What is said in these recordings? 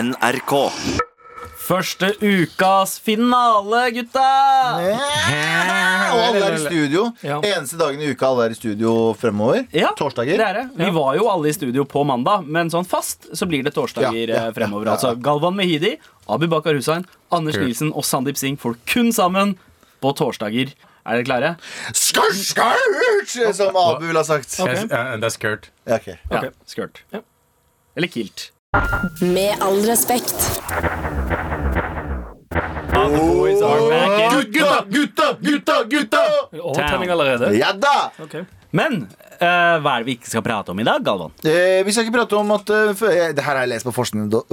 NRK. Første ukas finale, gutta! Og alle er i studio. Ja. Eneste dagen i uka alle er i studio fremover. Ja, Torsdager. Det er det. Vi var jo alle i studio på mandag, men sånn fast så blir det torsdager Ja, ja, eh, ja, fremover. ja, ja. Altså Galvan Mehidi, Abu Bakar Hussein, Anders Kult. Nilsen og Sandeep Singh får kun sammen på torsdager. Er dere klare? Skar, skar, som Abu ville ha sagt. Jeg- eh, Det er skurt. Ja, ok. Ja. Skirt. Eller kilt. Med all respekt. Gutta, gutta, gutta, gutta! Overtenning allerede. Ja da! Men eh, hva er det vi ikke skal prate om i dag, Galvan? Eh, vi skal ikke prate om at eh, for- eh, Det her har jeg lest på forskningen.no.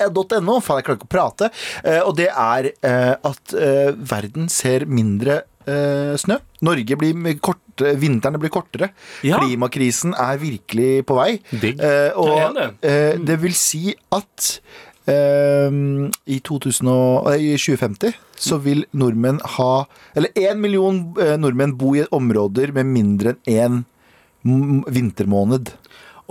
eh, Faen, jeg klarer ikke å prate. Eh, og det er eh, at eh, verden ser mindre eh, snø. Norge blir med kort, eh, Vinterne blir kortere. Ja. Klimakrisen er virkelig på vei. Digg. Eh, og Jeg er enig. eh, det vil si at eh, i, 2000 og, eh, i 2050 så vil nordmenn ha Eller én million eh, nordmenn bo i områder med mindre enn én m- vintermåned.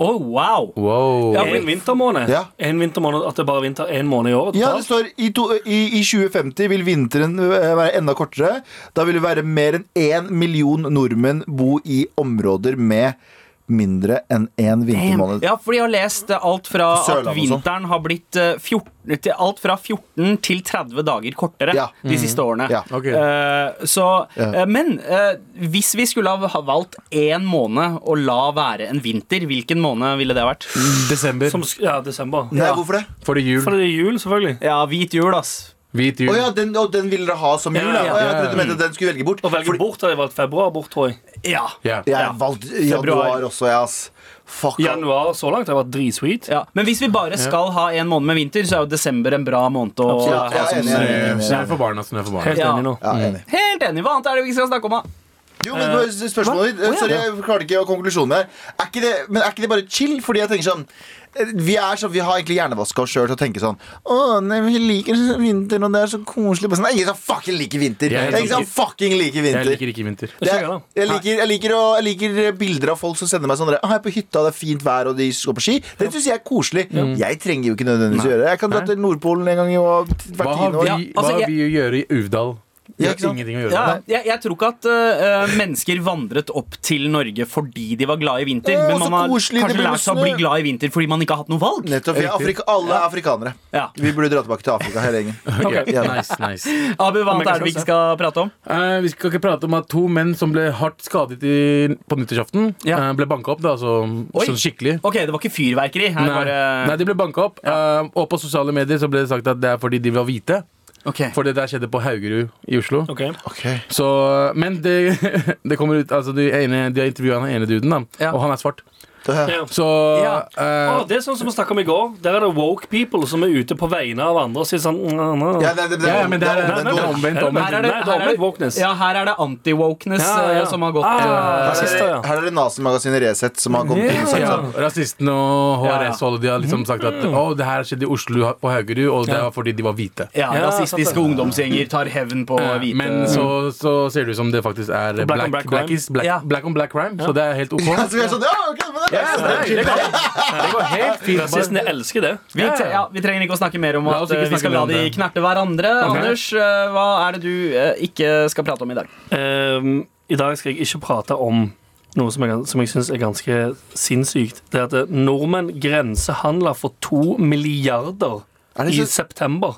Å, wow! Wow. Oh, Ja, en vintermåned. Oh. Ja. En vintermåned, At det er bare vinter én måned i året. Ja, det totalt. står i, to, i, I 2050 vil vinteren eh, være enda kortere. Da vil det være mer enn én million nordmenn bo i områder med mindre enn én vintermåned. Ja, fordi jeg har lest eh, alt fra at Sørlandet og sånn. vinteren har blitt eh, 14, til alt fra 14 til 30 dager kortere Ja. Mm. de siste årene. Ja. Ok. Eh, så, eh, men eh, hvis vi skulle ha- ha valgt én måned å la være en vinter, hvilken måned ville det vært? Desember. Som, sk- ja, desember. Nei, hvorfor det? Får det jul. For det er jul, selvfølgelig. Ja, hvit jul, ass. Hvit Å jul. ja, den, å, den ville dere ha som jul? Ja, Å, Ja, ja, ja, jeg ja, ja. trodde du mente at den skulle velge bort. Å velge bort har jeg valgt februar bort, tror jeg. Ja. Ja. Jeg Ja. valgte januar Februar. også, jeg, ass. Fuck. Januar så langt har vært dritsweet. Ja. Men hvis vi bare skal ha en måned med vinter, så er jo desember en bra måned å Ja, ha altså, jeg er som enig, jeg er enig, jeg Snø er enig. for barna, snø for barna. Helt Ja. enig nå. Ja, jeg er enig. Helt enig. Hva annet er det vi ikke skal snakke om, da? Jo, men bare s- spørsmålet ditt eh, Sorry, jeg klarte ikke å konklusjonen her. Er ikke det, men er ikke det bare chill? Fordi jeg tenker sånn eh, vi, er sånn, vi har egentlig hjernevaska oss sjøl til å tenke sånn Å, nei, vi liker vinter, og det er så koselig. Men sånn, nei, jeg så fucking liker vinter! Jeg er Jeg, helt sånn- ikke så fucking liker Jeg vinter. liker ikke vinter. Det er, Ikke jeg, da. jeg, liker, jeg, liker å, jeg liker bilder av folk som sender meg sånn der, «Ah, 'Jeg er på hytta, det er fint vær, og de går på ski.' Det syns jeg er koselig. Jeg trenger jo ikke nødvendigvis å gjøre det. Jeg kan dra til Nordpolen en gang i år. Hva har år. vi, Ja, hva altså, har jeg- vi å gjøre i Uvdal? Vi Ja, har ikke sant? ingenting å gjøre. Ja, jeg, jeg tror ikke at øh, øh, mennesker vandret opp til Norge fordi de var glad i vinter. Å, men så man har koselig, det kanskje blir lært seg å snø. bli glad i vinter fordi man ikke har hatt noe valg. Nettopp. Vi er Afrika, alle er afrikanere. Ja. Vi burde dra tilbake til Afrika, hele gjengen. Ok, Ja. Nice, nice. Abu, hva annet er det vi ikke skal prate om? Eh, vi skal ikke prate om at to menn som ble hardt skadet i, på nyttårsaften, Ja. eh, ble banka opp. Da, altså, Oi. sånn skikkelig. Ok, det var ikke fyrverkeri. Her Nei. Nei, bare de ble banka opp. eh, og på sosiale medier så ble det sagt at det er fordi de var hvite. Ok. For det der skjedde på Haugerud i Oslo. Ok. Ok. Så, men det, det kommer ut altså, de, ene, de har intervjua han ene duden, da, Ja. og han er svart. Ja. Ja. Så Ja. eh, Å, det er sånn som vi snakka om i går. Der er det woke people som er ute på vegne av andre og sier sånn mm, mm, mm. Ja, det, det, det, Ja, ja, men det er- omvendt, det er Her er omvendt. omvendt. omvendt. det, Nei, det her er er, omvendt wokeness. ja, her er det anti-wokeness Ja, ja. øh, som har gått. Ah, øh, ja, Her er siste, ja. det- her er det Nazi-magasinet Resett som har kommet inn og sagt Ja, sånn. rasistene og Ja, ja. HRS og alle de har liksom sagt at Å, det her skjedde i Oslo på Haugerud, og det var fordi de var hvite. ja, Ja, Rasistiske sant det. ungdomsgjenger tar hevn på Eh, hvite Men så, så ser det ut som det faktisk er black, Black black, on black crime. is, black, Ja. black on black crime, så det er helt OK. Ja, så vi er sånn, ja, ok, men det er Ja, nei, det går- det går helt fint. Bare- Rasistene elsker det. vi, tre, ja, vi trenger ikke å snakke mer om La at oss ikke øh, vi snakke skal mer la om de det. knerte hverandre. Ok. Anders, øh, hva er det du øh, ikke skal prate om i dag? Ehm, I dag skal jeg ikke prate om noe som jeg, som jeg syns er ganske sinnssykt. Det er at eh, nordmenn grensehandler for to milliarder Er det i så- september.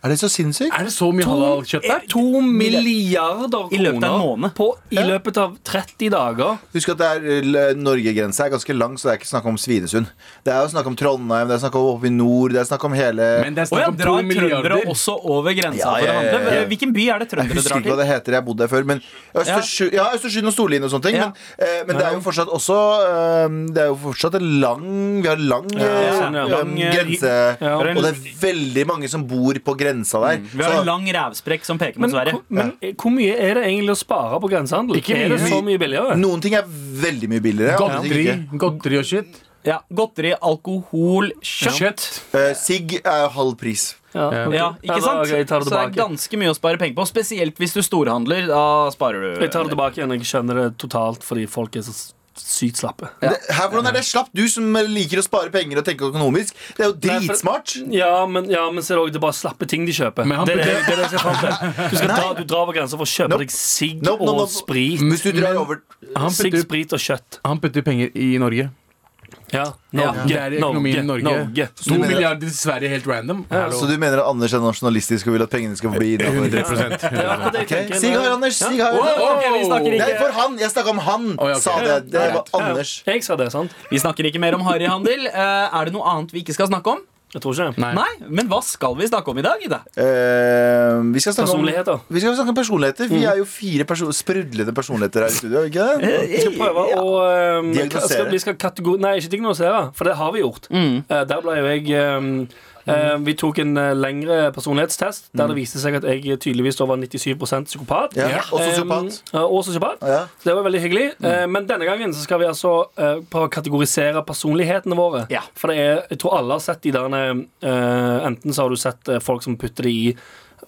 Er det så sinnssykt? Er det så mye halalkjøtt der? To milliarder I løpet av en kroner måned. på, i løpet av 30 dager. Husk at det er eh, l- Norgegrensa er ganske lang, så det er ikke snakk om Svinesund. Det er jo snakk om Trondheim, det er snakk om oppe i nord, det er snakk om hele Men det er Å snakk ja, om to drar trøndere milliarder. også over grensa Ja, ja, ja, for å handle? ja. Hvilken by er det jeg trøndere husker drar ikke hva til? det heter, jeg bodde der før. Men Østersund, ja, Østersund og Storlien og sånne ting. Ja. Men, eh, men det er jo fortsatt også eh, Det er jo fortsatt en lang Vi har lang, eh, sånn, ja. eh, Lang, eh, grense. ja. Og det er veldig mange som bor på grensa der. Vi har Så- en lang rævsprekk som peker mot Men, Sverige. hvor- men eh, hvor mye er det egentlig å spare på grensehandel? Ikke er det mye. så mye billigere? Noen ting er veldig mye billigere. andre ting Godteri, ikke. godteri og shit. Ja, Godteri, alkohol, kjøtt. Kjøtt. Eh, Sigg er halv pris. Ja. Ja. Ja, Ja, ikke da- sant? ok, jeg tar det Så det er tilbake. ganske mye å spare penger på. Spesielt hvis du storhandler. Da sparer du. Jeg tar det tilbake igjen. Jeg skjønner det totalt fordi folk er så s- sykt slappe. Det, her, hvordan er det slapp? Du som liker å spare penger og tenke økonomisk. Det er jo Nei, for- dritsmart. Ja, men, ja, men så er det også det er bare slappe ting de kjøper. Men han det, er det, burde- det er det jeg skal fram til. Du, skal Nei. dra, du drar over grensa for å kjøpe Nope. deg sigg Nope, nope, og nope. sprit. Hvis du drar over Han Sigg, putter, sprit og kjøtt. han putter penger i Norge. Ja. Ja. Norge, Det er i økonomien i Norge. Norge. To mener- milliarder til Sverige, helt random. Så du mener at Anders er nasjonalistisk og vil at pengene skal bli innenfor? 100 Det er akkurat det jeg Ok, tenker. Sig her, Anders. Sig her. Wow! Ok, vi snakker Nei, ikke for han! Jeg snakka om han, Å, ja, ok. sa det. Det Ja, var Anders. Jeg sa det, sant? Vi snakker ikke mer om harryhandel. Eh, Er det noe annet vi ikke skal snakke om? Jeg tror ikke det. Nei. Nei, men hva skal vi snakke om i dag? Ida? Eh, vi, skal snakke om, Personligheter. vi skal snakke om personligheter. Vi Mm. er jo fire perso sprudlende personligheter her i studio. er vi Ikke det? Eh, Vi skal prøve å ehm, Diagnosere. Mm. skal, Vi skal kategori... Nei, ikke diagnosere, for det har vi gjort. Eh, der ble jo jeg ehm, eh, Vi tok en eh, lengre personlighetstest der det viste seg at jeg tydeligvis da var 97 psykopat. Mm. Ja. Ja. Og Ehm, sosiopat. ja, og sosiopat. Ja. Mm. Så det var veldig hyggelig. Eh, men denne gangen så skal vi altså eh, prøve å kategorisere personlighetene våre. Ja. For det er, jeg tror alle har sett de der eh, Enten så har du sett eh, folk som putter det i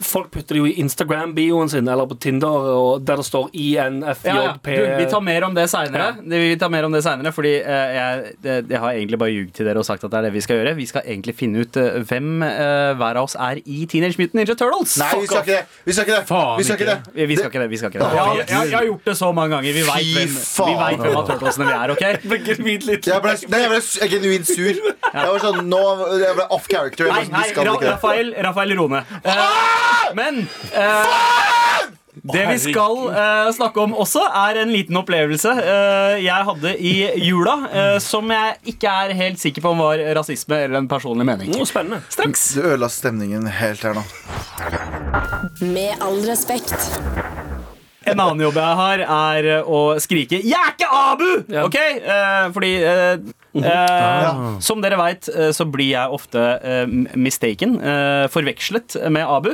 Folk putter det jo i Instagram-bioen sin eller på Tinder, og der det står INFJP. Ja, ja. Du, vi tar mer om det seinere. Vi tar mer om det senere, fordi eh, jeg, det, jeg har egentlig bare ljugd til dere og sagt at det er det vi skal gjøre. Vi skal egentlig finne ut eh, hvem eh, hver av oss er i Teenage Mutant Ninja Turtles. Nei, vi Fuck skal off. ikke det! Vi skal ikke det! Faen Vi skal ikke det. ikke. Vi, vi skal ikke det. vi skal ikke det jeg, jeg, jeg har gjort det så mange ganger. Vi veit Fy hvem, vi faen. vet hvem av turtlesene vi er. ok? Jeg ble, nei, jeg ble s- jeg er genuint sur. Jeg var sånn, nå, jeg ble off character. Jeg Nei, var sånn, nei, vi skal Ra ikke det. Rafael, Rafael Rone. Eh, men eh, det vi skal eh, snakke om også, er en liten opplevelse eh, jeg hadde i jula, eh, som jeg ikke er helt sikker på om var rasisme eller en personlig mening. Mm, spennende. Straks. Du ødela stemningen helt her nå. Med all respekt. En annen jobb jeg har, er eh, å skrike 'Jeg er ikke Abu!' Ja. Ok? Eh, fordi eh, eh, Som dere veit, så blir jeg ofte eh, mistaken. eh, forvekslet med Abu.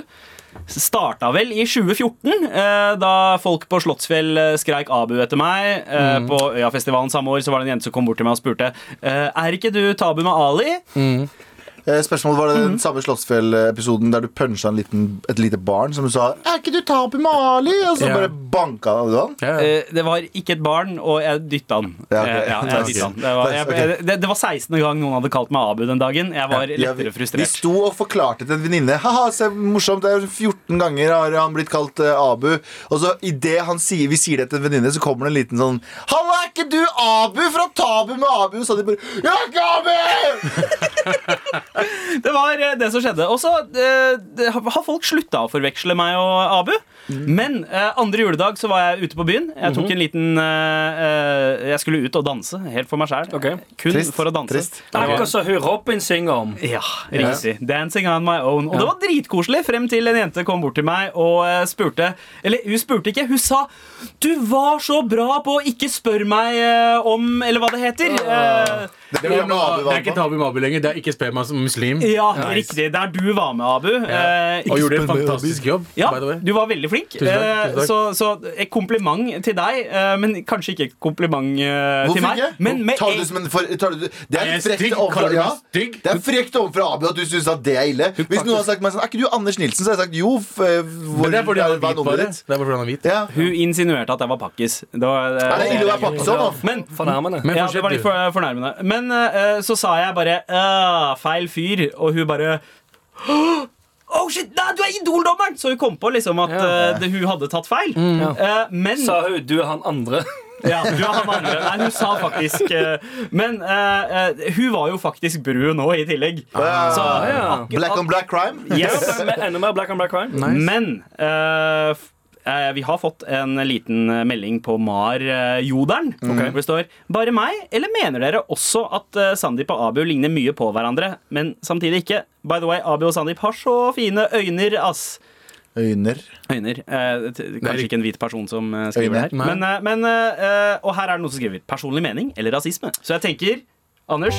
Starta vel i 2014, eh, da folk på Slottsfjell eh, skreik Abu etter meg. Eh, På Øyafestivalen samme år så var det en jente som kom bort til meg og spurte eh, Er ikke du Tabu med Ali. Eh, Spørsmålet Var det Mhm. den samme Slottsfjell-episoden der du punsja en liten- et lite barn som du sa 'Er ikke du Tabu Mali?' Og så Ja. bare banka du han? Ja. Eh, Det var ikke et barn, og jeg dytta han. Ja, ok. Eh, ja, jeg dyttet han. Det, var, jeg, Ok. det, det var 16. gang noen hadde kalt meg Abu den dagen. Jeg var Ja, vi- lettere Vi frustrert. sto og forklarte til en venninne. Haha, se morsomt, det er 14 ganger har han blitt kalt eh, Abu. Og så idet vi sier det til en venninne, så kommer det en liten sånn Halla, er ikke du Abu fra Tabu med Abu? Og så de bare Jeg er ikke Abu! Det var eh, det som skjedde. Og så eh, det- har folk slutta å forveksle meg og Abu. Mm. Men eh, andre juledag så var jeg ute på byen. Jeg Mhm. tok en liten eh, eh, Jeg skulle ut og danse, helt for meg sjæl. Ok. Kun Trist. for å danse. Trist. Det er Akkurat som hun Robin synger om. Ja, riktig. Dancing on my own. Og det var dritkoselig frem til en jente kom bort til meg og eh, spurte Eller hun spurte ikke, hun sa 'Du var så bra på å ikke spørre meg eh, om Eller hva det heter'. Eh, Det Det, var, var noe Abu det er var ikke på. Tabu Mabu lenger. Det er ikke spør meg som muslim. Eh, ja, Nice. riktig. Der du var med, Abu. Eh, Og gjorde spør en meg, Abu. fantastisk jobb. ja, by the way. du var veldig flink. Tusen takk, Eh, tusen takk. Så, så et kompliment til deg, eh, men kanskje ikke et kompliment eh, til Hvorfor meg. ikke? Men med tar du en- det som en for, tar du, det er Jeg er litt frekt stygg, overfor kaller du meg ja, stygg? Det er frekt overfor Abu at du syns at det er ille. Hvis noen har sagt meg sånn Er ikke du Anders Nilsen? Så har jeg sagt jo. f- eh, hvor- Men det er fordi han er hva hvit, nummeret bare. ditt? Det er bare fordi han er hvit. Ja. Hun insinuerte at jeg var pakkis. Det var, eh, Er det ille å være pakkis sånn? da? Men Fornærmende. Men ja, fortsett, det var litt du. for, fornærmende. Men eh, så sa jeg bare «Åh, feil fyr, og hun bare «Åh, Oh shit, nei, du er idoldommeren! Så hun kom på liksom at Ja. eh, det, hun hadde tatt feil. Mm, Eh, men Sa hun, du er han andre. ja, du er han andre. Nei, hun sa faktisk eh, Men eh, eh, hun var jo faktisk brun nå i tillegg. Så, ja. Black on black crime? yes. Med Enda mer black on black crime. Men eh, f- eh, vi har fått en liten eh, melding på MAR-jodelen. Mm. Hvor det står Bare meg, eller mener dere også at eh, Sandeep og Abu ligner mye på hverandre? Men samtidig ikke. By the way, Abu og Sandeep har så fine øyner, ass. Øyner. Øyner. Eh, t- kanskje riktig. ikke en hvit person som eh, skriver det Øyne. her. Men, eh, men, eh, eh, og her er det noen som skriver 'personlig mening' eller 'rasisme'. Så jeg tenker Anders,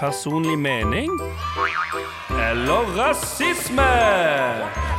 Personlig mening eller rasisme?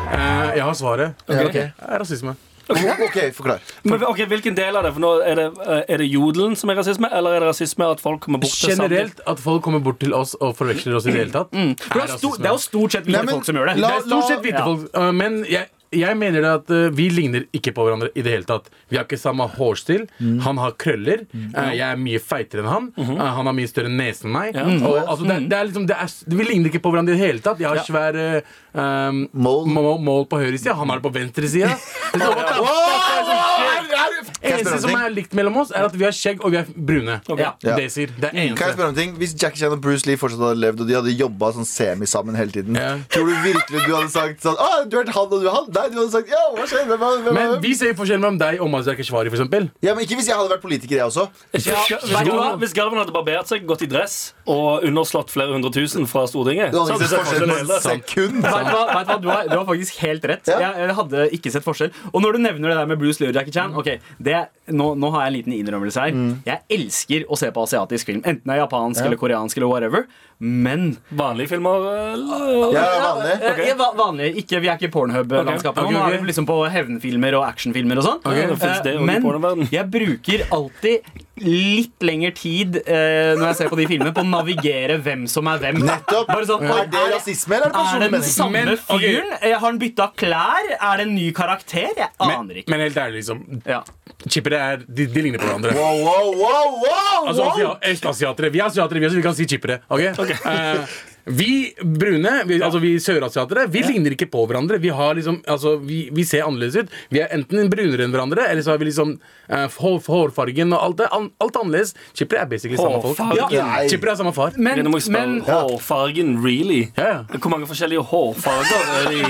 Eh, jeg har svaret. Ja, Det er rasisme. Ok, forklar. Men ok, Hvilken del av det? For nå Er det, eh, er det jodelen som er rasisme, eller er det rasisme at folk kommer bort til Generelt at folk kommer bort til oss og Mm. forveksler oss i det hele tatt. for det er, jo stor, det er jo stort sett hvite Nei, men folk som gjør det. la- Det er stort sett hvite Ja. folk, øh, men jeg, jeg mener det at eh, vi ligner ikke på hverandre i det hele tatt. Vi har ikke samme hårstil. Han har krøller. Eh, jeg er mye feitere enn han. Eh, han har mye større nese enn meg. Og, altså, det, er- det er liksom, det er, s- vi ligner ikke på hverandre i det hele tatt. Jeg har svær eh, um, Mål. må- mål på høyre side, han har det på venstre side. Det er sånn, what the fuck er det som skjer? Eneste som er likt mellom oss, er at vi har skjegg og vi er brune. Ja, Ja. det sier. Det er Kan jeg eneste. spørre om en ting? Hvis Jackie Chan og Bruce Lee fortsatt hadde levd, og de hadde jobba sånn semi sammen hele tiden, Ja. tror du virkelig du hadde sagt sånn ah, du er han, og du er han? Nei, du hadde sagt ja, hva skjer? Hvem er, hvem er, Men hvem? vi ser jo forskjell mellom deg og Mazar Keshvari, for eksempel. Ja, men ikke hvis jeg hadde vært politiker, jeg også. Ja, vet du hva? Hvis Galvan hadde barbert seg, gått i dress og underslått flere hundre tusen fra Stortinget Du hadde så hadde ikke jeg sett forskjell på sett forskjellen en hele tiden. sekund. Vet du hva, vet du, hva? Du, har, du har faktisk helt rett. Ja. Jeg, jeg hadde ikke sett forskjell. Og når du nevner det der med Bruce Lee og Jackie Chan ok, det, nå, nå har jeg en liten innrømmelse her. Jeg elsker å se på asiatisk film. Enten det er japansk eller koreansk eller whatever. Men Vanlige filmer eller? Jeg er vanlig. eh, eh, va- vanlig. Ikke, vi er ikke i pornhub-landskapet. Ok, Nå ok. er vi liksom på hevnfilmer og actionfilmer og sånn. Ja, det finnes det Eh, også i Men pornoverdenen. jeg bruker alltid litt lengre tid eh, når jeg ser på de filmene, på å navigere hvem som er hvem. Nettopp. Bare sånn, Er det rasisme, eller Er er det det personlig den mening? samme Men, ok. fyren? Eh, Har han bytta klær? Er det en ny karakter? Jeg Men, aner ikke. men helt ærlig, liksom. Ja. Chippere er De, de ligner på hverandre. Wow, wow, wow, wow, Altså, wow. asia- Østasiatere. Vi er asiatere, vi, er, så vi kan si chippere. ok? Eh, vi brune, vi, altså vi sørasiatere, vi ligner ikke på hverandre. Vi, har liksom, altså, vi, vi ser annerledes ut. Vi er enten brunere enn hverandre, eller så har vi liksom eh, hår, hårfargen og alt det. an- Alt annerledes. Chippere er basically samme folk. Hårfargen. Ja, chippere er samme far. Men, Nå må jeg men spørre hårfargen, really? Ja, ja. Hvor mange forskjellige hårfarger er det i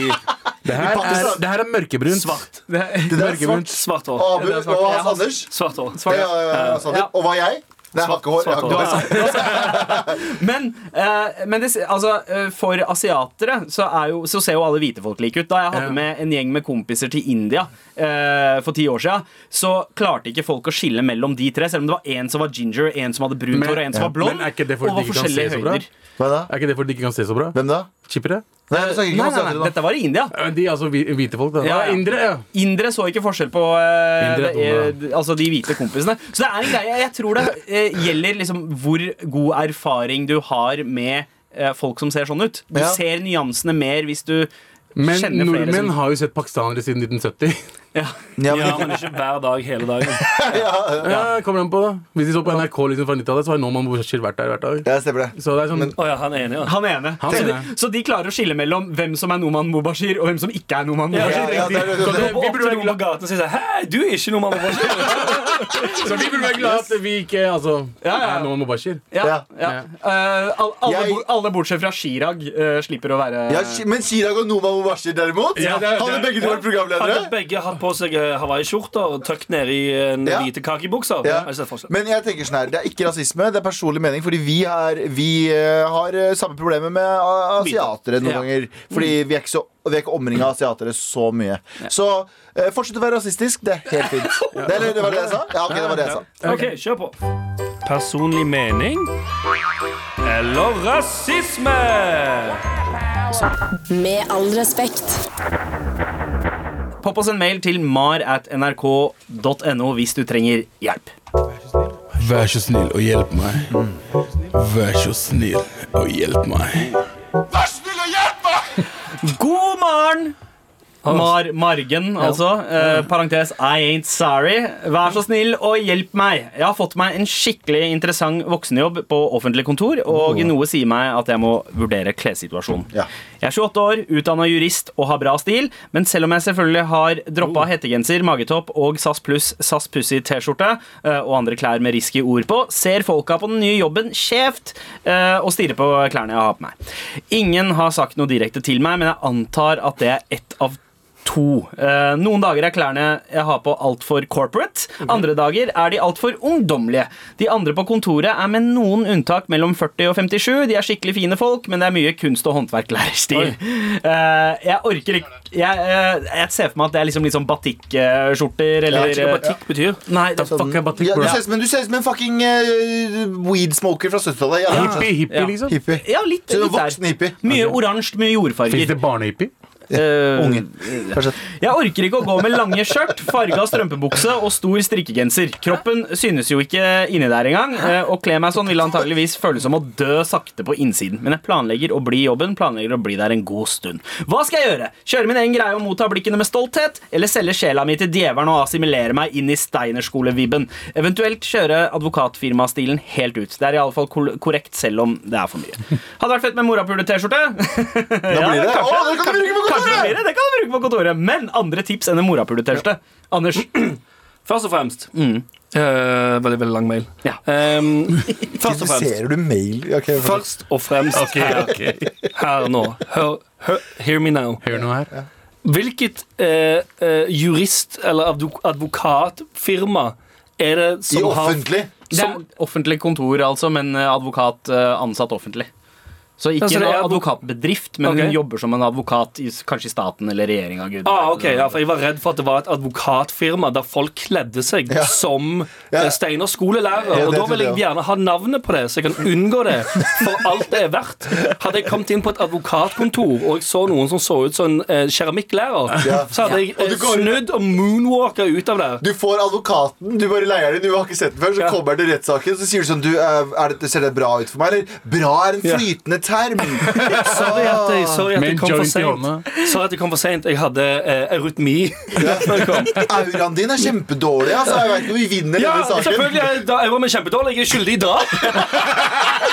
Det her er, det her er mørkebrunt. svart? Det der er Mørkebrunt. svart. Svart hår. Abu Det er og svart. Jeg Hans har- Anders. Svart hår. Svart. Ja, ja, ja, Hans Anders. Ja. Og hva er jeg? Nei, jeg har ikke hår. Jeg har Svart ikke hår. hår. Men, eh, men det, altså, eh, for asiatere så, er jo, så ser jo alle hvite folk like ut. Da jeg Ja. hadde med en gjeng med kompiser til India eh, for ti år siden, så klarte ikke folk å skille mellom de tre, selv om det var en som var ginger, en som hadde brunt Men- hår, og en som ja. var blond. Men er ikke det og fordi var de ikke kan se forskjellige så bra? høyder. Hva da? Er ikke det fordi de ikke kan se så bra? Hvem da? Chippere? Nei, jeg snakker Nei, ikke om nei, nei, asiatere nå. dette var i India. Eh, De er altså hvi- hvite folk, da. Ja, ja. Ah, Indre, ja. Indre så ikke forskjell på eh, Indre det, er eh, dumme. d- altså de hvite kompisene. Så det er en greie. Jeg tror det eh, gjelder liksom hvor god erfaring du har med eh, folk som ser sånn ut. Du Ja. ser nyansene mer hvis du Men kjenner flere nordmenn som har jo sett pakistanere siden 1970. ja. Ja, Ja, men- men ikke hver dag hele dagen. Ja, kommer an på da Hvis de så på NRK liksom fra 90-tallet, så har Norman Borchskild vært der hver dag. Jeg stemmer det. Så det er sånn Å ja, han er enig, ja. Han ene. Han så, de, ene. så de klarer å skille mellom hvem som er Noman Mubashir, og hvem som ikke er Noman ja, Mubashir. Ja, ja, det er- så det, Vi vi, burde burde være gå på glad, gaten og si sånn Hei, du er ikke noe mamma Bashir. så vi burde være glad at vi ikke altså, Ja, ja. er Norman Borchskild. Ja, ja. Eh, al- alle, Jeg- bo- alle bortsett fra Chirag eh, slipper å være Ja, Shi- men Chirag og Noma Mubashir derimot, Ja, det er- hadde begge to vært Hadde programledere. begge hatt på seg eh, hawaiiskjorter tøkt ned i eh, en Ja. hvite kakebukser. Ja. Har ikke sett forskjell. Men jeg tenker sånn her, det er ikke rasisme, det er personlig mening. Fordi vi, er, vi eh, har eh, samme problemer med a- asiatere noen Ja. ganger. Fordi vi er ikke, så, vi er ikke omringa av asiatere så mye. Så eh, fortsett å være rasistisk. Det er helt fint. Det, eller, det var det jeg sa? Ja, ok, det var det jeg sa. OK, kjør på. Personlig mening eller rasisme? Med all respekt. Popp oss en mail til mar at nrk.no hvis du trenger hjelp. Vær så snill og hjelp meg. Vær så snill og hjelp meg. God morgen! Mar Margen, altså. Eh, parentes I ain't sorry. Vær så snill og hjelp meg. Jeg har fått meg en skikkelig interessant voksenjobb på offentlig kontor, og noe sier meg at jeg må vurdere klessituasjonen. Ja. Jeg er 28 år, utdanna jurist og har bra stil, men selv om jeg selvfølgelig har droppa hettegenser, magetopp og SAS pluss SAS Pussy T-skjorte eh, og andre klær med risky ord på, ser folka på den nye jobben skjevt eh, og stirrer på klærne jeg har på meg. Ingen har sagt noe direkte til meg, men jeg antar at det er ett av to. Eh, noen dager er klærne jeg har på altfor corporate. Mhm. Andre dager er de altfor ungdommelige. De andre på kontoret er med noen unntak mellom 40 og 57. De er skikkelig fine folk, men det er mye kunst- og håndverklærerstil. Eh, jeg orker ikke jeg, eh, jeg ser for meg at det er liksom, liksom batikkskjorter eller Vet ikke hva tikk betyr. Nei, det, Fuck, jeg sånn- Ja, bare tenker du på ser det. ut som en- du ser ut som en fucking eh, weed smoker fra 70-tallet. Ja. Hippie, hippie, Ja. liksom. Hippie. ja, litt, Så du er litt der. voksen hippie. Mye oransje, mye Fins jordfarger. det barnehippie? Eh, Unge. Kanskje. Jeg orker ikke å gå med lange skjørt, farga strømpebukse og stor strikkegenser. Kroppen synes jo ikke inni der engang. eh, Å kle meg sånn vil antageligvis føles som å dø sakte på innsiden. Men jeg planlegger å bli i jobben, planlegger å bli der en god stund. Hva skal jeg gjøre? Kjøre min egen greie og motta blikkene med stolthet? Eller selge sjela mi til djevelen og assimilere meg inn i steinerskolevibben? Eventuelt kjøre advokatfirmastilen helt ut. Det er iallfall korrekt, selv om det er for mye. Hadde vært fett med morapule-T-skjorte. Da blir det. Å, det kan du bruke på kontoret! Kanskje blir det, det kan du bruke på kontoret Men andre tips enn en morapule-T-skjorte. Anders. Først og fremst eh, Veldig, veldig lang mail. Mm. Ja. Ehm, først og fremst Kritiserer du mail? Ok, fortsett. Først og fremst her, her nå. Hør, hør, hear me now. Hør nå her. Hvilket eh, eh, jurist- eller advo- advokatfirma er det I som har offentlig? Det er offentlig kontor, altså, men eh, advokat eh, ansatt offentlig. Så ikke Ja, så det er en advok- advokatbedrift, men Ok. hun jobber som en advokat i, s- kanskje i staten eller regjeringa. Gud, Ah, ok, ja, for Jeg var redd for at det var et advokatfirma der folk kledde seg Ja. som Ja. eh, Steinar skolelærer. Ja, og det Da vil trodde jeg jeg gjerne ha navnet på det, så jeg kan unngå det. For alt det er verdt. Hadde jeg kommet inn på et advokatkontor og jeg så noen som så ut som en eh, keramikklærer, så hadde jeg Og eh, du går- snudd og moonwalka ut av der. Du får advokaten, du bare leier den, du har ikke sett den før. Så Ja. kommer han til rettssaken, så sier du sånn du, eh, er det, Ser det bra ut for meg, eller? Bra er en flytende term. Sorry at jeg, sorry at Med jeg en kom for joint i sent. hånda. Sorry at jeg kom for sent. Jeg hadde eh, eurytmi. når jeg kom. Auraen din er kjempedårlig, altså. Jeg vet ikke om vi vinner Ja, denne saken. selvfølgelig. Jeg, da, jeg var med kjempedårlig. Jeg er skyldig i drap.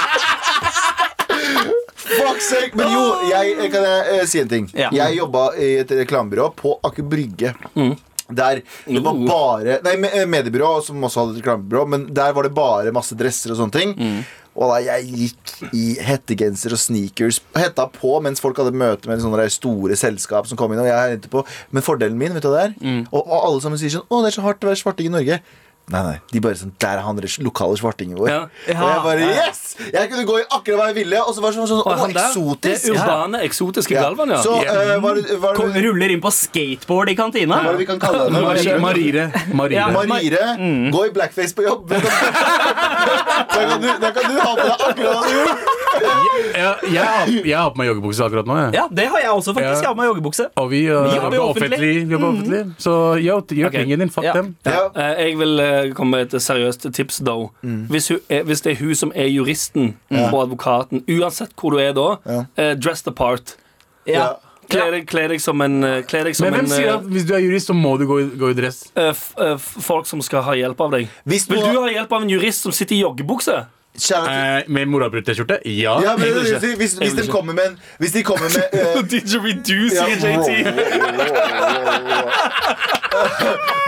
Fuck sake. Men jo, jeg, jeg kan jeg eh, si en ting. Ja. Jeg jobba i et reklamebyrå på Aker Brygge. Mm. Der det var Oh. Uh. bare Nei, me- eh, mediebyrå som også hadde et reklamebyrå, men der var det bare masse dresser og sånne ting. Mm. Og da jeg gikk i hettegenser og sneakers Hetta på mens folk hadde møte med sånne der store selskap som kom inn. Og jeg hentet på Men fordelen min, vet du hva det er? Mm. Og, og alle sammen sier sånn Å, det er så hardt å være svarting i Norge. Nei, nei. De bare sånn Der er han der lokale svartingen vår. Ja. Og jeg bare Ja. Yes! Jeg kunne gå i akkurat hva jeg ville. Og så var det sånn, sånn Og Å, han der, eksotisk. Det urbane, eksotiske Ja. Galvan, ja. Så eh, hva er det- hva er Kom, det ruller inn på skateboard i kantina. hva er det vi kan kalle henne? Hva er det? Marire. Ja. Marire. Marire. Mm. Gå i blackface på jobb. Da kan du, da kan du ha på deg akkurat hva du gjorde. Jeg, jeg, har, jeg har på meg joggebukse akkurat nå. Jeg. Ja, det har jeg også, faktisk. Ja. Jeg har med joggebukse. Og vi, uh, Vi jobber jobber offentlig. offentlig. Mm. Vi jobber offentlig. Så yo, gjør Ok. tingen din. Fuck Ja. dem. Ja. Eh, Jeg vil eh, komme med et seriøst tips, though. Hvis, hun er, hvis det er hun som er juristen og advokaten, uansett hvor du er da, eh, dress the part. Ja. Ja. Kle deg, kle deg som en eh, Kle deg som Men hvem en øh, sier at hvis du er jurist, så må du gå i, gå i dress? eh, f- eh, f- Folk som skal ha hjelp av deg. Hvis Vil du noe- ha hjelp av en jurist som sitter i joggebukse? Kjære- Eh, med morapult-T-skjorte? Ja. ja, men, vil ikke. hvis, hvis, Jeg hvis vil de ikke. kommer med en Hvis de kommer med eh, Didgeridoo, ja, sier JT.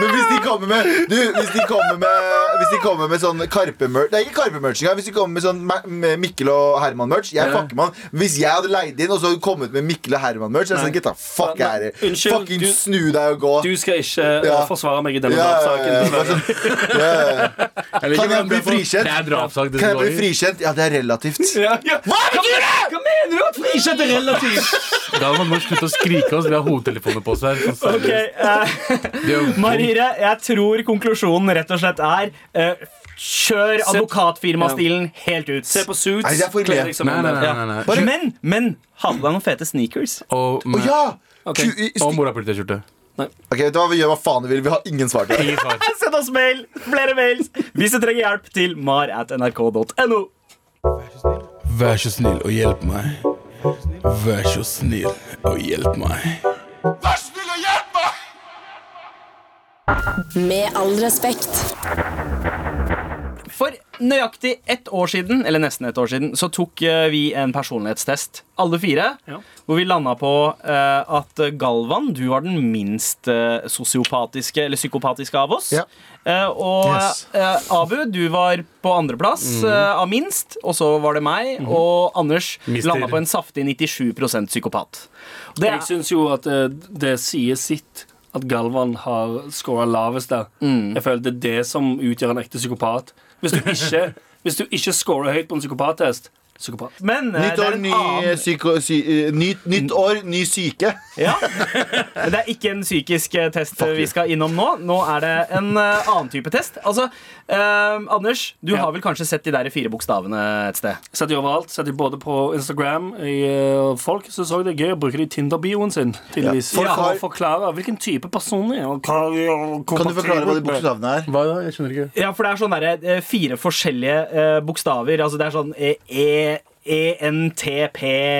Men hvis de kommer med Du, hvis de kommer med Hvis de kommer med sånn Karpe-merch Nei, ikke Karpe-merch engang. Hvis de kommer med sånn Ma- med Mikkel og Herman-merch Jeg fucker man Hvis jeg hadde leid inn og så hadde kommet med Mikkel og Herman-merch Jeg hadde sagt, gutta, fuck Nei, jeg er her unnskyld, Fucking du- snu deg og gå Du skal ikke eh, Ja. forsvare meg i Ja, denne ja, ja, saken. bare sånn, ja, ja, ja. Eller, Kan jeg bli frikjent? Det er drapssak. det Kan jeg går bli i. frikjent? Ja, det er relativt Ja, ja. Hva mener du?! Hva mener du at frikjent er relativt? Da må man slutte å skrike oss. Vi har hodetelefoner på oss her. sånn seriøst. Ok, eh, Det gjør vondt. Marire, jeg tror konklusjonen rett og slett er eh, Kjør Se- advokatfirmastilen helt ut. Se på suits. Nei, det er for kle ille. deg som Nei, en- nei, nei. Ja. nei, nei. Bare- Men, men ha på deg noen fete sneakers. Og, Å ja! Ku- i- sti- og morapult-T-skjorte. Ok, vet du hva vi gjør hva faen vi vil Vi har ingen svar til det Ingen svar. Send oss mail, flere mails hvis du trenger hjelp til mar at nrk.no. Vær så snill og hjelp meg. Vær så snill og hjelp meg. Med all respekt. For nøyaktig ett år siden, eller nesten ett år siden, så tok eh, vi en personlighetstest. Alle fire. Ja. Hvor vi landa på eh, at Galvan, du var den minst eh, sosiopatiske, eller psykopatiske av oss. Ja. Eh, og Yes. eh, Abu, du var på andreplass eh, av minst, og så var det meg. Og Anders Mister. landa på en saftig 97 psykopat. Det Jeg syns jo at eh, det sier sitt at Galvan har scora lavest der. Mm. Jeg føler det er det som utgjør en ekte psykopat. Hvis du ikke, hvis du ikke scorer høyt på en psykopattest, Psykopat. Men eh, Nytt det år, er en ny annen psyko... Sy, eh, nytt, nytt år, ny syke. Ja. Men det er ikke en psykisk eh, test eh, vi skal innom nå. Nå er det en eh, annen type test. Altså, eh, Anders, du har vel kanskje sett de der fire bokstavene et sted? Sett de overalt. Sett de både på Instagram i eh, folk som så det er gøy å bruke det i Tinder-bioen sin. tydeligvis Ja. Folk For har- å forklare hvilken type person de er. og hva de er, og Kan du forklare hva de bokstavene er? Hva da? Jeg skjønner ikke. Ja, for det er sånn derre eh, fire forskjellige eh, bokstaver. Altså det er sånn eh, E... ENTP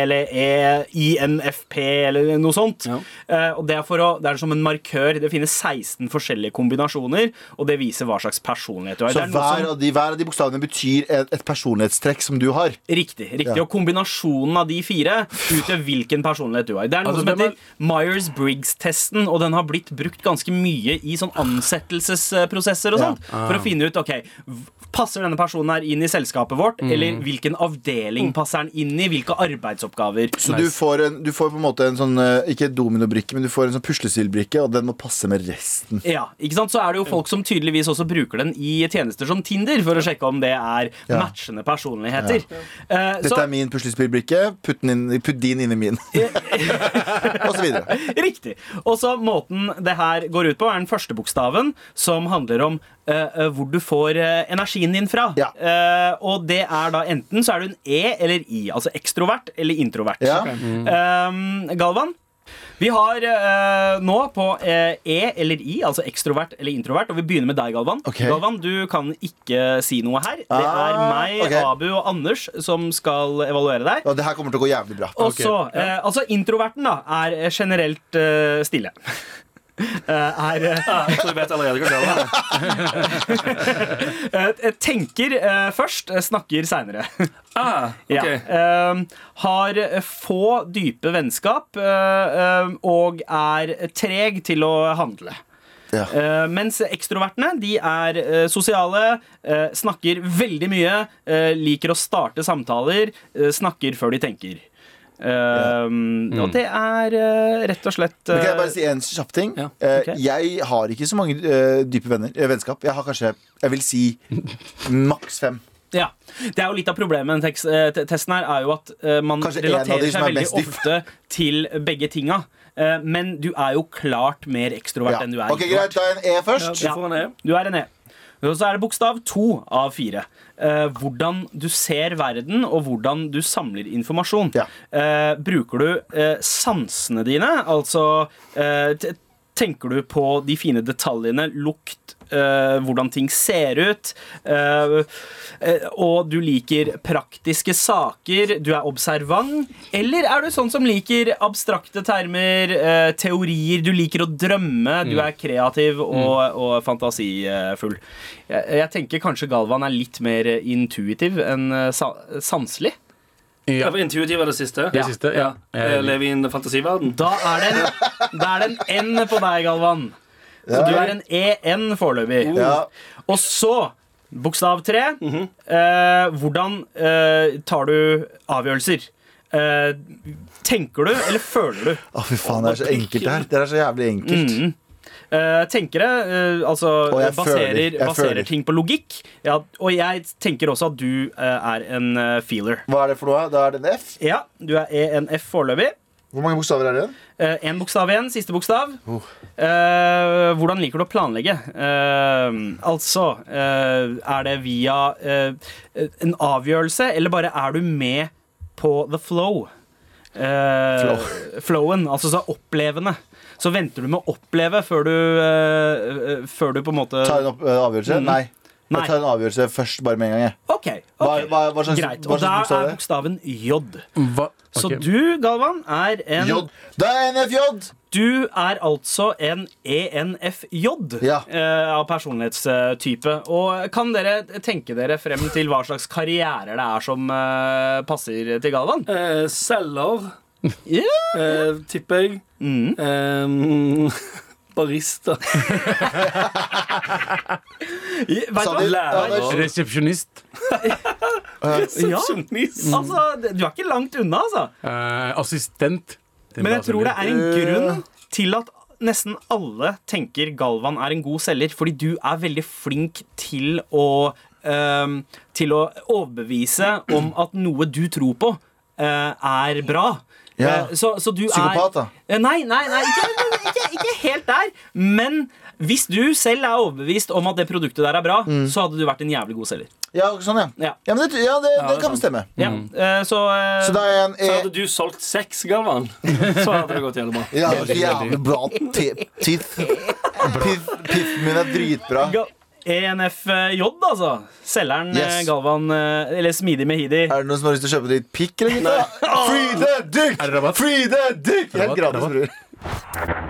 eller E EINFP eller noe sånt. Ja. Eh, og det er, for å, det er som en markør. Det finnes 16 forskjellige kombinasjoner, og det viser hva slags personlighet du har. Så Det er noe som- hver av, de, hver av de bokstavene betyr et, et personlighetstrekk som du har. Riktig. riktig, Ja. Og kombinasjonen av de fire utgjør hvilken personlighet du har. Det er noe Altså, som hvem er- heter Myers-Briggs-testen, og den har blitt brukt ganske mye i sånn ansettelsesprosesser og sånt, Ah. for å finne ut ok, v- passer denne personen her inn i selskapet vårt, Mm. eller hvilken avdeling passer han inn i, hvilke arbeidsoppgaver. Så du, får en, du får på en måte en sånn eh, Ikke dominobrikke, men du får en sånn puslespillbrikke, og den må passe med resten. Ja, ikke sant? Så er det jo folk som tydeligvis også bruker den i tjenester som Tinder, for å sjekke om det er Ja. matchende personligheter. Eh, Dette så- er min puslespillbrikke. Putt, den inn- putt din inn i min. og så videre. Riktig. Og så måten det her går ut på, er den første bokstaven, som handler om eh, eh, hvor du får eh, energien din fra. Ja. Eh, og det er da enten så er du en E eller I, altså ekstrovert eller introvert. Ja. Eh, Galvan? Vi har eh, nå på eh, E eller I, altså ekstrovert eller introvert, og vi begynner med deg, Galvan. Ok. Galvan, du kan ikke si noe her. Det er Ah, meg, ok. Abu og Anders som skal evaluere deg. Og det her kommer til å gå jævlig bra. Og så, eh, altså introverten da, er eh, generelt eh, stille. Eh, er eh, Jeg tror jeg vet allerede hva det er. eh, tenker eh, først, eh, snakker seinere. Ah, ok. ja. Eh, har eh, få dype vennskap eh, eh, og er treg til å handle. Ja. Eh, mens ekstrovertene de er eh, sosiale, eh, snakker veldig mye, eh, liker å starte samtaler, eh, snakker før de tenker. Eh, Og det er eh, rett og slett Mm. Men kan jeg eh, bare si en kjapp ting? Ja, Eh, ok. Jeg har ikke så mange eh, dype venner, eh, vennskap. Jeg har kanskje, jeg vil si, maks fem. Ja, Det er jo litt av problemet med den tekst, eh, te- testen her, er jo at eh, man Kanskje en av de relaterer som er seg veldig mest dyp. ofte til begge tinga. Eh, men du er jo klart mer Ja. ekstrovert enn du er Ok, Greit, da er en E først. Du får en E. Du er en E. Og så er det bokstav to av fire. Eh, hvordan du ser verden, og hvordan du samler informasjon. Ja. Eh, bruker du eh, sansene dine, altså eh, t- Tenker du på de fine detaljene, lukt, eh, hvordan ting ser ut? eh, eh, og du liker praktiske saker, du er observant? Eller er du sånn som liker abstrakte termer, eh, teorier, du liker å drømme, du er kreativ og, og fantasifull? Jeg, jeg tenker kanskje Galvan er litt mer intuitiv enn eh, sa, sanselig. Ja. Ja, for Intuitiv er det siste. Det siste, ja. Jeg er Jeg enig. lever i en fantasiverden. Da er det en, da er det en N på deg, Galvan. Så du er en EN foreløpig. Ja. Og så bokstav tre. eh, hvordan eh, tar du avgjørelser? Eh, tenker du, eller føler du? Å, fy faen, det er så enkelt det her. Det er så jævlig enkelt. Mm. Eh, tenkere eh, altså, Og jeg baserer, føler, jeg baserer føler. ting på logikk. Ja, og jeg tenker også at du eh, er en eh, feeler. Hva er det for noe? Da er det en F. Ja, du er ENF foreløpig. Hvor mange bokstaver er det igjen? Én Eh, bokstav igjen. Siste bokstav. Oh. Eh, hvordan liker du å planlegge? Eh, altså eh, Er det via eh, en avgjørelse, eller bare er du med på the flow? Eh, Flowen. Altså så opplevende. Så venter du med å oppleve før du eh, eh, Før du på en måte Tar en opp, eh, avgjørelse? Mm. Nei. Nei. Jeg tar en avgjørelse først, bare med en gang. jeg. OK. Hva, ok. hva, hva slags, Greit. hva Og slags da bokstav er er det? bokstaven J. Hva? Så Ok. du, Galvan, er en J. Da er en FJ! Du er altså en ENFJ Ja. eh, av personlighetstype. Og kan dere tenke dere frem til hva slags karrierer det er som eh, passer til Galvan? Eh, selger, Ja. eh, tipper jeg. Mm. Eh, barista. Vet du Sa du? hva? Anders? Resepsjonist. Ja. Resepsjonist. Altså, du er ikke langt unna, altså. Eh, assistent. Men jeg tror det er en Eh. grunn til at nesten alle tenker Galvan er en god selger, fordi du er veldig flink til å eh, til å overbevise om at noe du tror på, eh, er bra. Ja. Eh, så, så du Psykopat, da. er Eh, Nei, nei, nei ikke, ikke, ikke helt der. Men hvis du selv er overbevist om at det produktet der er bra, Mm. så hadde du vært en jævlig god selger. Ja, sånn, ja. Ja. Ja, men det, ja, det, det er kan sant. stemme. Ja, eh, så, eh, Så da er jeg en Så E. hadde du solgt sex, Galvan, så hadde det gått jævlig bra. Ja, jævlig bra ti- tiff. Piff, piffen min er dritbra. Ga- E ENFJ, altså. Selgeren Yes. eh, Galvan eh, Eller Smidig Mehidi. Er det noen som har lyst til å kjøpe ditt pikk, eller? gutta? Free the dick! Er det rabatt? Free the dick! Helt Rabatt, gratis, rabatt. bror.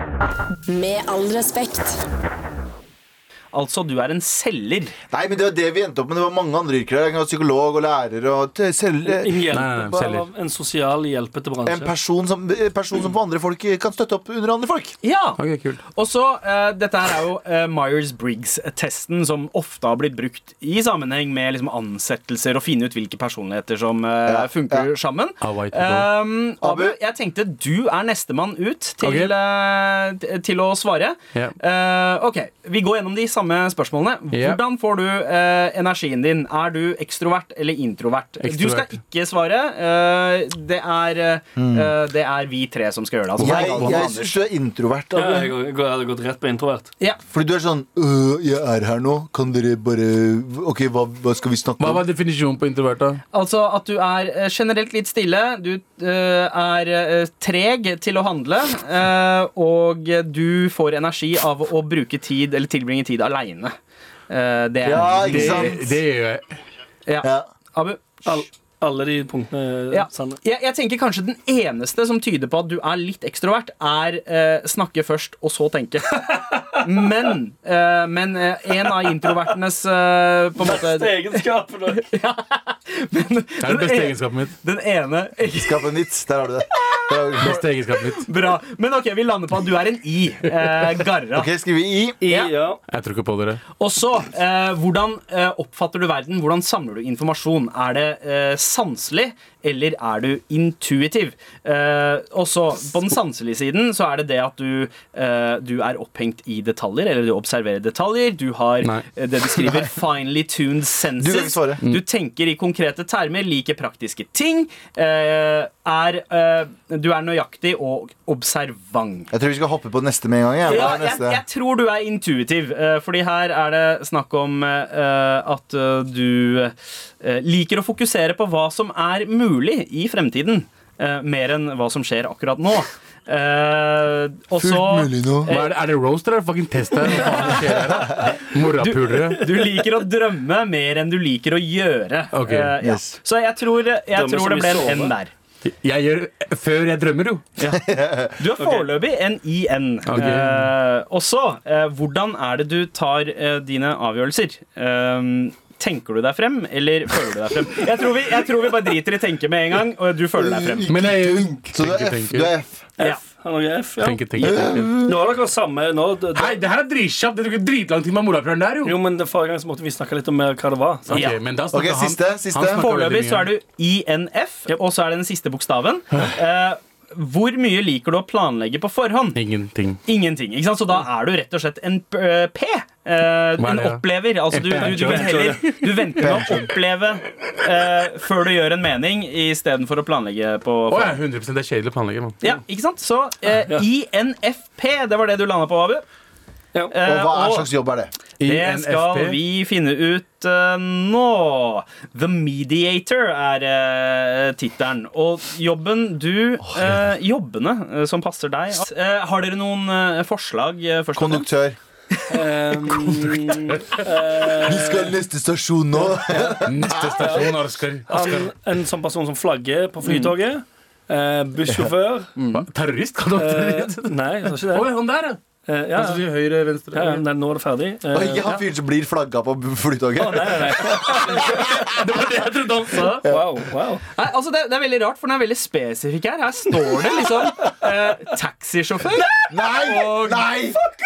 Med all respekt. Altså, du er en selger. Nei, men det var det vi endte opp med. Det var mange andre yrker der. Jeg var Psykolog og lærer og t- selge. En, Nei, nei, hjelpe, selger. av en sosial hjelpete En bransje. person som, eh, person som for andre folk eh, kan støtte opp under andre folk. Ja! Ok, kult. Og så, eh, Dette her er jo eh, Myers-Briggs-testen, som ofte har blitt brukt i sammenheng med liksom, ansettelser, og finne ut hvilke personligheter som eh, funker sammen. Ah, white people. Um, Abu, jeg tenkte du er nestemann ut til, Ok. eh, t- til å svare. Ja. Eh, ok, Vi går gjennom de samme spørsmålene. Ja. Hvordan får du eh, energien din? Er du ekstrovert eller introvert? Du Ekstrovert. skal ikke svare. eh, det, er, eh, eh, det er vi tre som skal gjøre det. Mm. Jeg, Altså. jeg syns du er introvert. Ja, Abu. jeg går- jeg hadde gått rett på introvert. Ja. Fordi du er sånn øh, Jeg er her nå. Kan dere bare Ok, hva, hva skal vi snakke Hva om? var definisjonen på introvert, da? Altså at du er eh, generelt litt stille, du eh, er eh, treg til å handle, eh, og du får energi av å bruke tid, eller tilbringe tid aleine. Eh, det er Ja, ikke det- sant? Det gjør jeg. Ja. Ja. Abu? All, alle de punktene eh, Ja. er sanne. Jeg, jeg tenker kanskje den eneste som tyder på at du er litt ekstrovert, er eh, snakke først og så tenke. Men, eh, men eh, en av introvertenes eh, på en måte, egenskapen Det er det beste egenskapet mitt. Den ene Skap en vits. Der har du det. Der har du det. Beste egenskapet mitt. Bra. Men ok, vi lander på at du er en I. Eh, garra. Ok, skriver vi i. Ja. Ja. Jeg tror ikke på dere. Og så, eh, hvordan eh, oppfatter du verden? Hvordan samler du informasjon? Er det eh, sanselig, eller er du intuitiv? Eh, og så, på den sanselige siden, så er det det at du, eh, du er opphengt i detaljer, eller du observerer detaljer. Du har Nei. eh, det du skriver finely tuned senses. Du kan ikke svare. Du tenker i konkrete termer, liker praktiske ting. Eh, er, eh, du er nøyaktig og observant. Jeg tror vi skal hoppe på neste med en gang. Jeg. Ja, Hva er jeg, neste? jeg tror du er intuitiv, eh, fordi her er det snakk om eh, at eh, du eh, liker å fokusere på hva som er mulig i fremtiden, eh, mer enn hva som skjer akkurat nå. Eh, og så nå. Hva er, det, er det roast eller er det fucking test her? Hva faen skjer her? da? Morapulere. du liker å drømme mer enn du liker å gjøre. Ok, Eh, ja. yes. Så jeg tror, jeg som tror det i ble sove. en N der. Jeg gjør før jeg drømmer, jo. Du er foreløpig en IN. Ok. Eh, og så, eh, hvordan er det du tar eh, dine avgjørelser? Eh, tenker du deg frem, eller føler du deg frem? Jeg tror vi, jeg tror vi bare driter i tenke med en gang, og du føler deg frem. Men jeg gjør Så du er F. Du er F. Ja. F. Har dere F, ja. tenker, tenker, tenker. Nå har dere samme nå, d- d- Hei, det her er dritkjapt! Det tok dritlang tid med morapuleren der, jo. Jo, men det Forrige gang så måtte vi snakke litt om eh, hva det var. sant? Ok, Ja. men da snakker Ok, han- siste, siste. han snakker Foreløpig veldig mye. så er du INF, og så er det den siste bokstaven. Eh, hvor mye liker du å planlegge på forhånd? Ingenting. Ingenting. ikke sant? Så da er du rett og slett en p- eh, P. Eh, Hva er en det, ja? opplever. Altså, du, du, du, vil heller, du venter med å oppleve eh, før du gjør en mening, istedenfor å planlegge på Å ja, 100 Det er kjedelig å planlegge. Man. Ja, ikke sant? Så eh, INFP, det var det du landa på, Abu. Ja. Eh, Og hva er og slags jobb er det? det skal INFP. vi finne ut eh, nå. The Mediator er uh, tittelen. Og jobben du eh, Jobbene eh, som passer deg. Eh, har dere noen eh, forslag? eh, først og fremst? Konduktør. Um, Vi skal neste stasjon nå. Neste stasjon, Oskar. en, en sånn person som flagger på flytoget. Eh, bussjåfør. Mm. Terrorist? Kan du være Eh, terrorist? nei, jeg sa ikke det. Å, han der, ja. Eh, ja, Han som sier ja. altså, høyre, venstre. Ja, ja, nei, nå er det ferdig. Og Eh, ikke han fyren som blir flagga på flytoget. nei, nei, nei. Det var det jeg trodde han sa. Wow, wow. Nei, altså det, det er veldig rart, for den er veldig spesifikk her. Her står det liksom eh, taxisjåfør. Nei! Nei!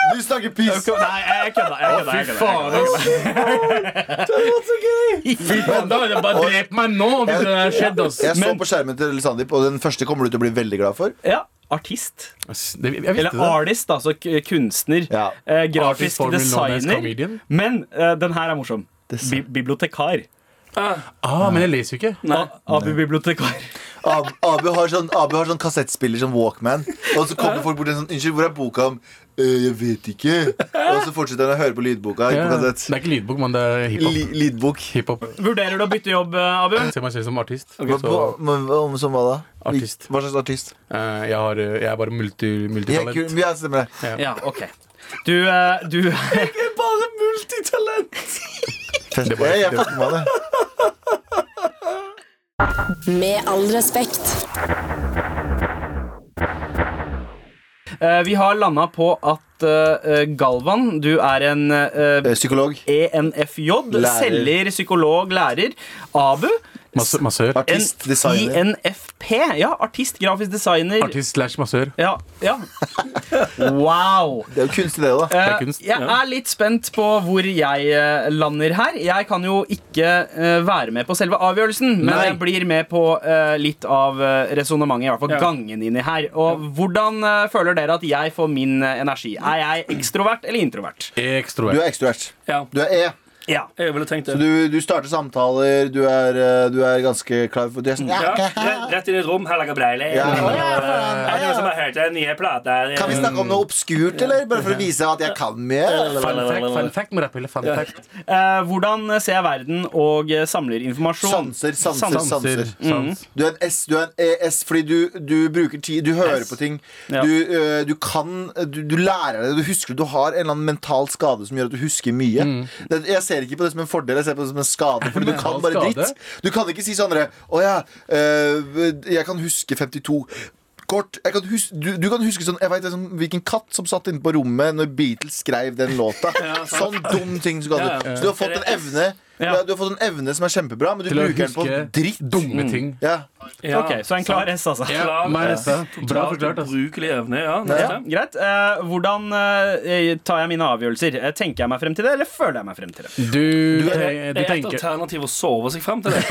Du snakker piss. Nei, jeg kødda. Jeg kødda, jeg kødda, jeg kødda. Fy faen, da. jeg Bare drep meg nå hvis det der skjedde, ass. Jeg så Men- på skjermen til Sandeep, og den første kommer du til å bli veldig glad for. Ja, artist. Ass, det- Jeg visste Eller det. artist, altså k- kunstner. Ja. Eh, Artist, grafisk formerly known as designer. comedian. Men eh, den her er morsom. Bi bibliotekar. Ah, men jeg leser jo ikke. A- Abu bibliotekar. Ab- Abu har sånn, Abu har sånn kassettspiller som Walkman. Og så kommer folk bort og sånn Unnskyld, hvor er boka om «Øh, Jeg vet ikke. Og så fortsetter han å høre på lydboka. Ikke Ja. på Det kassett. er ikke lydbok, men det er hiphop. Li lydbok. Hiphop. Vurderer du å bytte jobb, eh, Abu? Jeg ser meg selv som artist. Hva- Så hva- men hva- om som hva da? Artist. Hva slags artist? eh, jeg, har, eh, jeg er bare multi, Ja, multitalent. kul- ja, stemmer det. Ja, OK. Du, eh, du Bare multitalent! Fest. Ja, jeg fucker med det. Med all respekt. eh, Vi har landa på at eh, Galvan, du er en eh, Eh, Psykolog. ENFJ, Lærer. selger, psykolog, lærer. Abu, Masse- Massør. en Artist. Designer. INFP. Ja, artist, grafisk designer. Artist slash massør. Ja, ja. Wow. Det er jo kunstig, det, da. Eh, er kunst. jeg er litt spent på hvor jeg eh, lander her. Jeg kan jo ikke eh, være med på selve avgjørelsen, men Nei. jeg blir med på eh, litt av uh, resonnementet, i hvert fall Ja. gangen inni her. Og hvordan eh, føler dere at jeg får min eh, energi? Er jeg ekstrovert eller introvert? Du Ekstrovert. er ekstrovert. Ja, Du er E. Ja. jeg ville tenkt Så det. du, du starter samtaler, du er, eh, du er ganske klar for Du er sånn Ja, ja, rett, rett inn i et rom. Her lager Breili. Ja. Er det noen som har hørt den nye plata? Kan vi snakke om noe obskurt, eller? Bare for å vise at jeg kan mer? Fun fact, fun fact, må rappelle, fun fact. Eh, hvordan ser jeg verden og eh, samler informasjon? Sanser, sanser, Sanser. Mm. sanser. Sans. Du er en S, du er en ES, fordi du, du bruker tid, du hører på ting. Ja. Du, øh, du kan du, du lærer det, du husker det. Du har en eller annen mental skade som gjør at du husker mye. Det, jeg ser ikke på det som en fordel, jeg ser på det som en skade. Fordi du Mm. Mental kan bare skade? dritt. Du kan ikke si sånn derre Å ja, øh, jeg kan huske 52. Kort, jeg kan hus du, du kan huske sånn, jeg vet, det er sånn, hvilken katt som satt inne på rommet når Beatles skrev den låta. sånn dum ting som kan Ja, ja. du. Så du har fått en evne Ja. Du har fått en evne som er kjempebra, men du Til å bruker den på huske dritt. Dumme ting. Ja. Ja. Ok, Så en klar S, altså. Ja, meg også. Bra forklart. ass. Ubrukelig evne, ja. Ja, Neste. greit. Eh, hvordan eh, tar jeg mine avgjørelser? Eh, tenker jeg meg frem til det, eller føler jeg meg frem til det? Du, eh, du, Det er et tenker. alternativ å sove seg frem til det.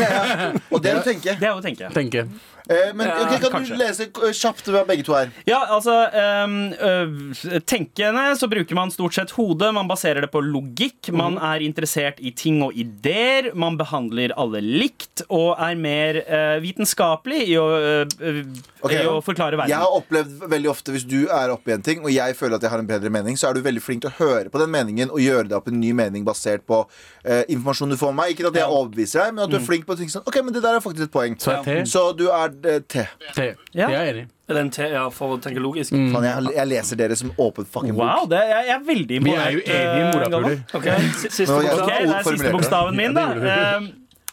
Og det er å tenke. Det er jo å tenke. tenker. Eh, men Ja, ok, Kan kanskje. du lese eh, kjapt hva begge to er? Ja, altså ehm, øh, Tenkende så bruker man stort sett hodet. Man baserer det på logikk. Man Mhm. er interessert i ting og ideer. Man behandler alle likt og er mer eh, vitenskapelig i å, eh, Ok. i å forklare Jeg verden. har opplevd veldig ofte Hvis du er oppe i en ting og jeg føler at jeg har en bedre mening, så er du veldig flink til å høre på den meningen og gjøre deg opp en ny mening basert på eh, informasjon du får av meg. Ikke at jeg overbeviser deg, men at du er flink på ting sånn OK, men det der er faktisk et poeng. Mm. Så er T. Så du er eh, T. T. Ja. Jeg er enig. Er det en T, ja, for å tenke logisk? Mm. Faen, jeg, jeg leser dere som åpen fucking Wow, bok. det, jeg, jeg er veldig Vi er jo imponert. enige i eh, morapuler. Galvan. Ok, s- Siste Nå, jeg- Ok, bokstav. det er Ordformulert, siste ja. bokstaven min, da. Eh,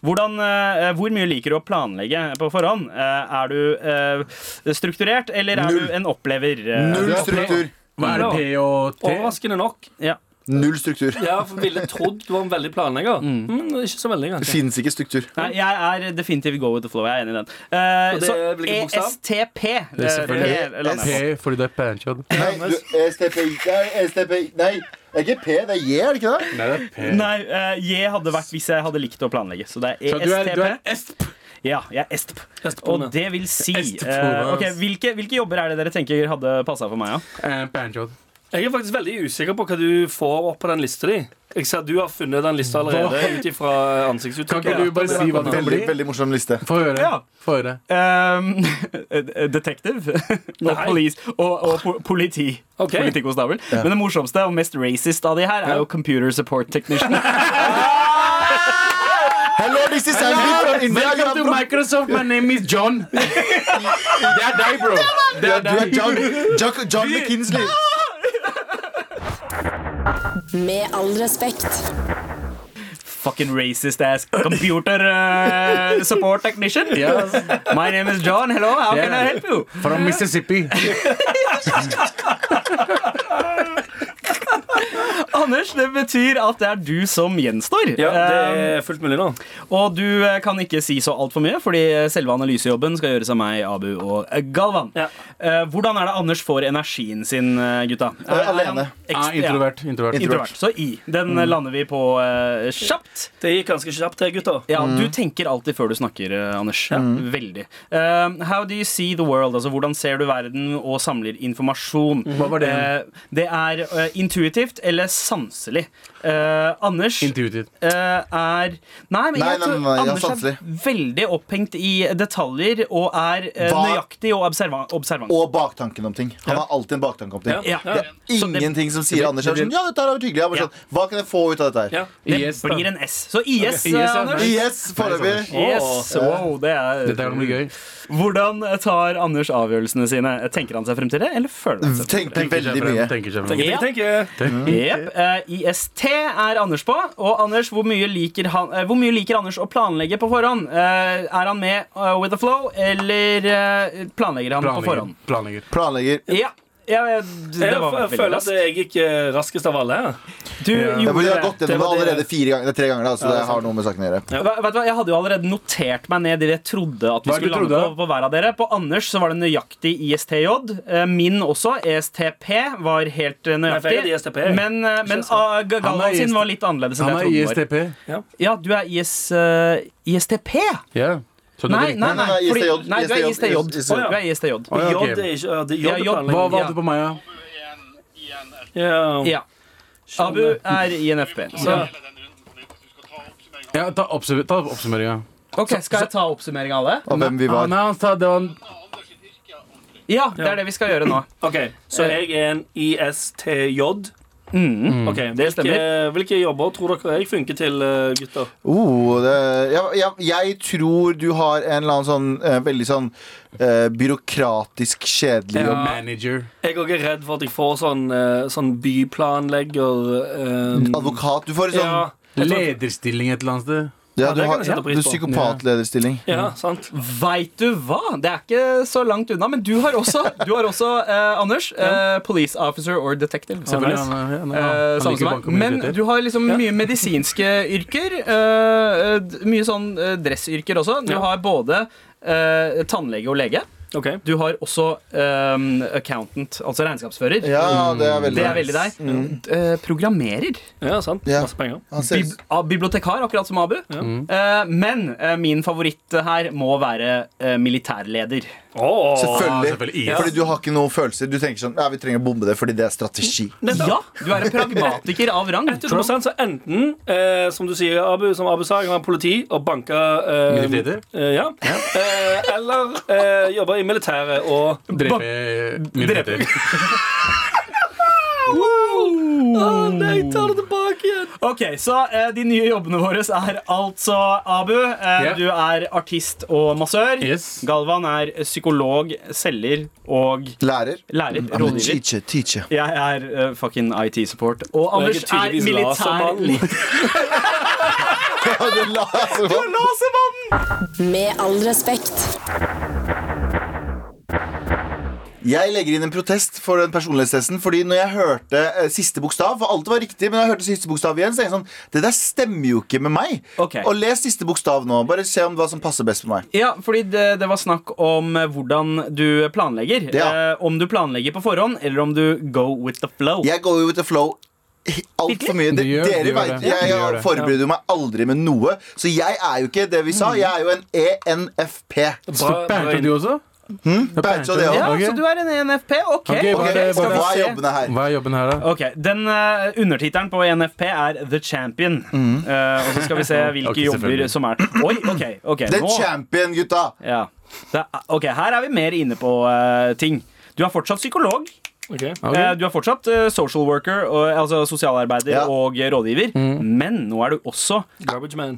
hvordan, eh, hvor mye liker du å planlegge på forhånd? Eh, er du eh, strukturert, eller er Null. du en opplever? eh? Null Ja, P. struktur. Hva er det P og T? Overraskende nok. Ja. Null struktur. Ja, for ville trodd du var en veldig planlegger. Mm, ikke så veldig, Det kanskje. finnes ikke struktur. Nei, jeg er definitivt go with the flow. Jeg er enig i den. Eh, Og det så E er hvilken bokstav? ESTP. Det er selvfølgelig eh, det lander jeg på. P fordi det er pankjød. Nei, du, STP, nei, STP, nei, det er ikke P, det er J, er det ikke det? Nei, det er P. Nei, eh, J hadde vært hvis jeg hadde likt å planlegge. Så det er E Så du er, du er ESTP. esp. Ja, jeg er estp. Estepone. Og det vil si Estepone, eh, ok, ass. hvilke, hvilke jobber er det dere tenker hadde passa for meg? Ja? Eh, pankjød. Jeg er faktisk veldig usikker på hva du får opp på den lista di. Jeg ser at du har funnet den lista allerede ut ifra Kan ansiktsuttrykket. ikke du bare si hva det kan Veldig, bli? veldig morsom liste. Få høre. Ja. Få høre. Um, Detektiv og, Nei. police, og, og po politi. Ok. Politikonstabel. Men det morsomste og mest racist av de her er jo Computer Support Technician. Hello, this is Andy from India. You Welcome are to from- Microsoft, my name is John. Det er deg, bro. Det er Du er deg. John, John, John McKinsley. Med all respekt. Fucking racist ass computer uh, support technician. Yes. My name is John. Hello, how can I Yeah. help you? From Mississippi. Anders, det betyr at det er du som gjenstår. Ja, det Um, er fullt mulig nå. og du eh, kan ikke si så altfor mye, fordi selve analysejobben skal gjøres av meg, Abu og eh, Galvan. Ja. Eh, hvordan er det Anders får energien sin, eh, gutta? Er- er han alene. ekstra- Ah, introvert. introvert. Introvert. Så I. Den eh, lander vi på eh, kjapt. Det gikk ganske kjapt, det, gutter. Ja, Du tenker alltid før du snakker, eh, Anders. Veldig. Eh, how do you see the world? Altså, Hvordan ser du verden og samler informasjon? Hva var det? Eh, det er eh, intuitivt eller sanselig. Eh, Anders Intuitivt. eh, er Nei, men Nei, jeg nei, tror nei, nei, jeg er Anders er sanselig. veldig opphengt i detaljer og er eh, Hva- nøyaktig og observant. observant. Og baktanken om ting. Han har alltid en baktanke om ting. Ja. ja. Ja. Det er Så det- ingenting som sier Anders er sånn Ja, dette her har vært hyggelig. Jeg er bare Ja. sånn, Hva kan jeg få ut av dette her? Ja. Det IS, da. blir en S. Så IS, Ok, IS, eh, ja. Anders. Yes, foreløpig. Yes, wow, det er, Dette kan bli gøy. Hvordan tar Anders avgjørelsene sine? Tenker han seg frem til det, eller føler han seg frem Tenker veldig frem, mye. Tenker seg frem. Tenker, tenker, tenker. til det? Jep, eh, IST er Anders på. Og Anders, hvor mye liker, han, eh, hvor mye liker Anders å planlegge på forhånd? Eh, er han med eh, with the flow, eller eh, planlegger han på Planlegger. forhånd? Planlegger. Planlegger. Ja, ja, ja, det Jeg, var f- veldig føler raskt. at jeg gikk eh, raskest av alle. her. Du Ja, gjorde fordi jeg har det. gått gjennom det det- allerede fire ganger, det er tre ganger, da, så det er har noe med saken å gjøre. Ja. Vet vet du hva, Jeg hadde jo allerede notert meg ned det jeg trodde at vi Hva skulle er det du lande på, trodde? på hver av dere. På Anders så var det nøyaktig ISTJ. eh, Min også. ESTP var helt eh, Nei, for jeg nøyaktig. hadde E ISTP, jeg. Men, eh, men Ikke ah, G- Han Galvan er sin IST var litt annerledes enn Han det er jeg trodde. det var. ISTP. Ja, du er IS, eh, ISTP? Ja. Så det er Nei, riktig. nei, nei, Nei, nei, fordi, ISTJ. nei du er ISTJ. ISTJ. Du er ISTJ. Å, ja, ok. J er ikke ja, det- J Ja, er J. Hva planlegging. var det på meg, da? Ja. Ja. Abu er INFP. Så Ja, ta oppsummer- ta oppsummeringa. ok, Skal jeg ta oppsummering av alle? Og hvem vi Ah, var. nei, han sa det var en Ja, det er det vi skal gjøre nå. OK, så Eh. jeg er en ISTJ. Ok, det Hvilke, Mm. stemmer. hvilke jobber tror dere jeg funker til, eh, gutter? Oh, det, jeg, jeg, jeg tror du har en eller annen sånn eh, veldig sånn eh, byråkratisk kjedelig jobb. manager. Jeg er også redd for at jeg får sånn, eh, sånn byplanlegger eh, Advokat. Du får en sånn ja, Lederstilling et eller annet sted. Ja, Ja, du det har kan jeg sette du pris er på. psykopatlederstilling. ja, sant. Veit du hva? Det er ikke så langt unna, men du har også, du har også eh, Anders, eh, police officer or detective. Selvfølgelig. Han er- han er- Eh, han samme liker som bank meg. og Men myndigheter. du har liksom mye medisinske yrker. eh, eh, d- mye sånn eh, dressyrker også. Du Ja. har både eh, tannlege og lege. OK. Du har også eh, accountant, altså regnskapsfører. Ja, det er veldig Det er veldig deg. Eh, programmerer. Ja, sant. Ja. Masse penger. Han ser, Bib ah, bibliotekar, akkurat som Abu. Eh, men eh, min favoritt her må være eh, militærleder. Åh. selvfølgelig. selvfølgelig, yes. Fordi du har ikke noen følelser. Du tenker sånn Ja, vi trenger å bombe det fordi det er strategi. Ja, du er en pragmatiker av rang. 100 så enten, eh, som du sier, Abu, som Abu sa, jeg var politi og banka eh, Militærleder? eh, ja. Eh, eller eh, jobber i militæret og Drepe myndigheter. Nei, ta det tilbake igjen! Ok, Så eh, de nye jobbene våre er altså Abu. Eh, Ja. Du er artist og massør. Yes. Galvan er psykolog, selger og Lærer. lærer. I'm a Rådgiver. teacher, teacher. Jeg er eh, fucking IT-support. Og Anders er tydeligvis militær... lasermann. Ja, du la- altså, Lasermannen! Med all respekt. Jeg legger inn en protest for den personlighetstesten. Fordi når jeg hørte eh, siste bokstav, for alt var riktig, men jeg hørte siste bokstav igjen, så tenkte jeg sånn Det der stemmer jo ikke med meg. Ok. Og les siste bokstav nå. Bare se om hva som passer best for meg. Ja, fordi det, det var snakk om eh, hvordan du planlegger. Ja. Eh, om du planlegger på forhånd, eller om du go with the flow. Jeg går jo with the flow altfor mye. Du De, gjør- dere du gjør vet, det. jeg, Du gjør jeg det. forbereder jo meg aldri med noe. Så jeg er jo ikke det vi sa. Jeg er jo en E ENFP. Bra- bra Banta inn. du også? Badger det Ja, også. Ok. Så du er en E ENFP? Ok. Ok, hva Ok, er det- så hva er hva er se. jobbene her? Hva er jobben her, da? Ok, den eh, Undertittelen på ENFP er The Champion. Mm. Eh, og så skal vi se hvilke Ok, jobber selvfølgelig. som er Oi, ok, ok, The nå champion, gutta! ja. det er, Ok, her er vi mer inne på eh, ting. Du er fortsatt psykolog. Ok. Ok. Eh, du er fortsatt eh, social worker, og, altså sosialarbeider Ja. Mm. og rådgiver. Men nå er du også Garbage man.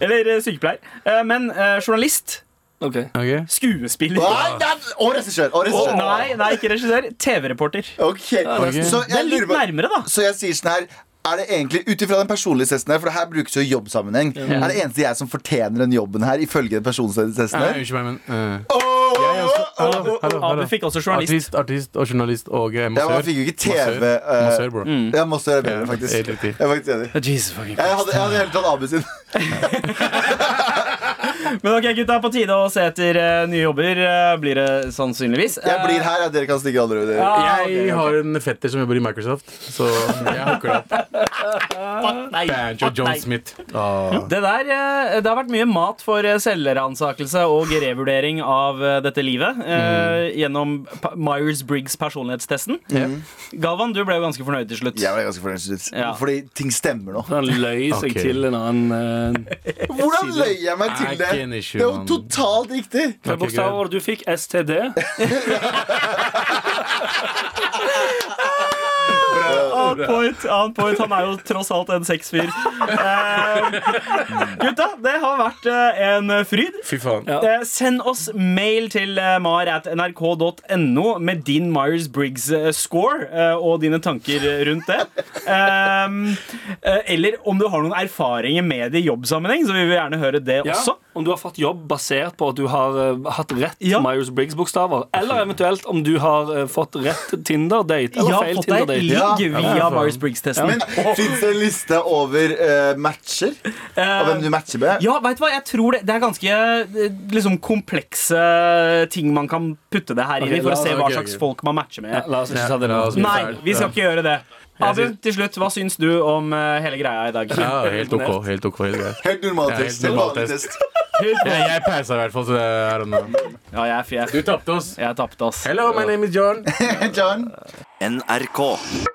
Eller eh, sykepleier. Eh, men eh, journalist. OK. Ok. Skuespiller. Nei, nei, Og regissør. Og Og, regissør. nei, nei, ikke regissør. TV-reporter. Ok, Så Det jeg er litt lurer på nærmere, da. Så jeg sier sånn her er det egentlig, ut ifra den personlighetstesten her, for det her brukes jo i jobbsammenheng, er det eneste jeg som fortjener den jobben her, ifølge den personlighetstesten Nei, her? Unnskyld meg, men eh, Åh, jeg er åh, også- hallo, åh, åh. hallo, hallo. Abu fikk også journalist. Artist, artist og journalist og eh, Ja, massør. men han fikk jo ikke TV. Massør. eh, Massør, bro. Mm. Jeg må også gjøre bedre, Ja, faktisk. helt riktig. Jeg er faktisk enig. Jesus fucking Jeg hadde, jeg hadde helt tatt Abu sin. Men ok, gutta, på tide å se etter eh, nye jobber, eh, blir det sannsynligvis. Eh, Jeg blir her, ja, dere kan stikke andre veier. Ja. Ah, ok, ok. Jeg har en fetter som jobber i Microsoft, så jeg hooker opp. Nei, Banjo John Smith. Det der, eh, det har vært mye mat for eh, selvransakelse og revurdering av eh, dette livet Mm. eh, gjennom Pa- Myers-Briggs personlighetstesten. Galvan, du ble jo ganske fornøyd til slutt. Jeg ble ganske fornøyd til slutt. Ja. Fordi ting stemmer nå. Han løy seg Ok. til en annen eh, Hvordan løy jeg meg I til det? can issue, Det er jo man. totalt riktig. Hvilke Ok, bokstaver var det du fikk? STD? On point, on point. Han er jo tross alt en sexfyr. Eh, gutta, det har vært eh, en fryd. Fy faen. Ja. Eh, send oss mail til eh, mar at nrk.no med din Myers-Briggs-score eh, og dine tanker eh, rundt det. Ehm, eh, eller om du har noen erfaringer med det i jobbsammenheng, så vil vi gjerne høre det Ja. også. Om du har fått jobb basert på at du har eh, hatt rett Ja. Myers-Briggs-bokstaver. Eller eventuelt om du har eh, fått rett Tinder-date. Eller Jeg har feil fått deg Tinder-date. Ja. ligg via faen. Myers-Briggs-testen. Men fins det en liste over eh, matcher? Av hvem du matcher med? Ja, vet du hva? Jeg tror det, det er ganske eh, liksom, komplekse eh, ting man kan putte det her inn i, for å se hva ok, ok. slags folk man matcher med. Ja, La oss ikke ta det La nå. oss bli Nei, ferdig. vi skal ikke gjøre det. Abu, synes- til slutt, hva syns du om eh, hele greia i dag? Ja, helt OK. helt ok, helt greit. Helt normal Ja, helt test. normal vanlig test. test. Jeg, jeg pausa i hvert fall. Så det er noe. Ja, jeg er Du fjer. tapte oss. Jeg tapte, ass. Hello, my name is John. John? NRK.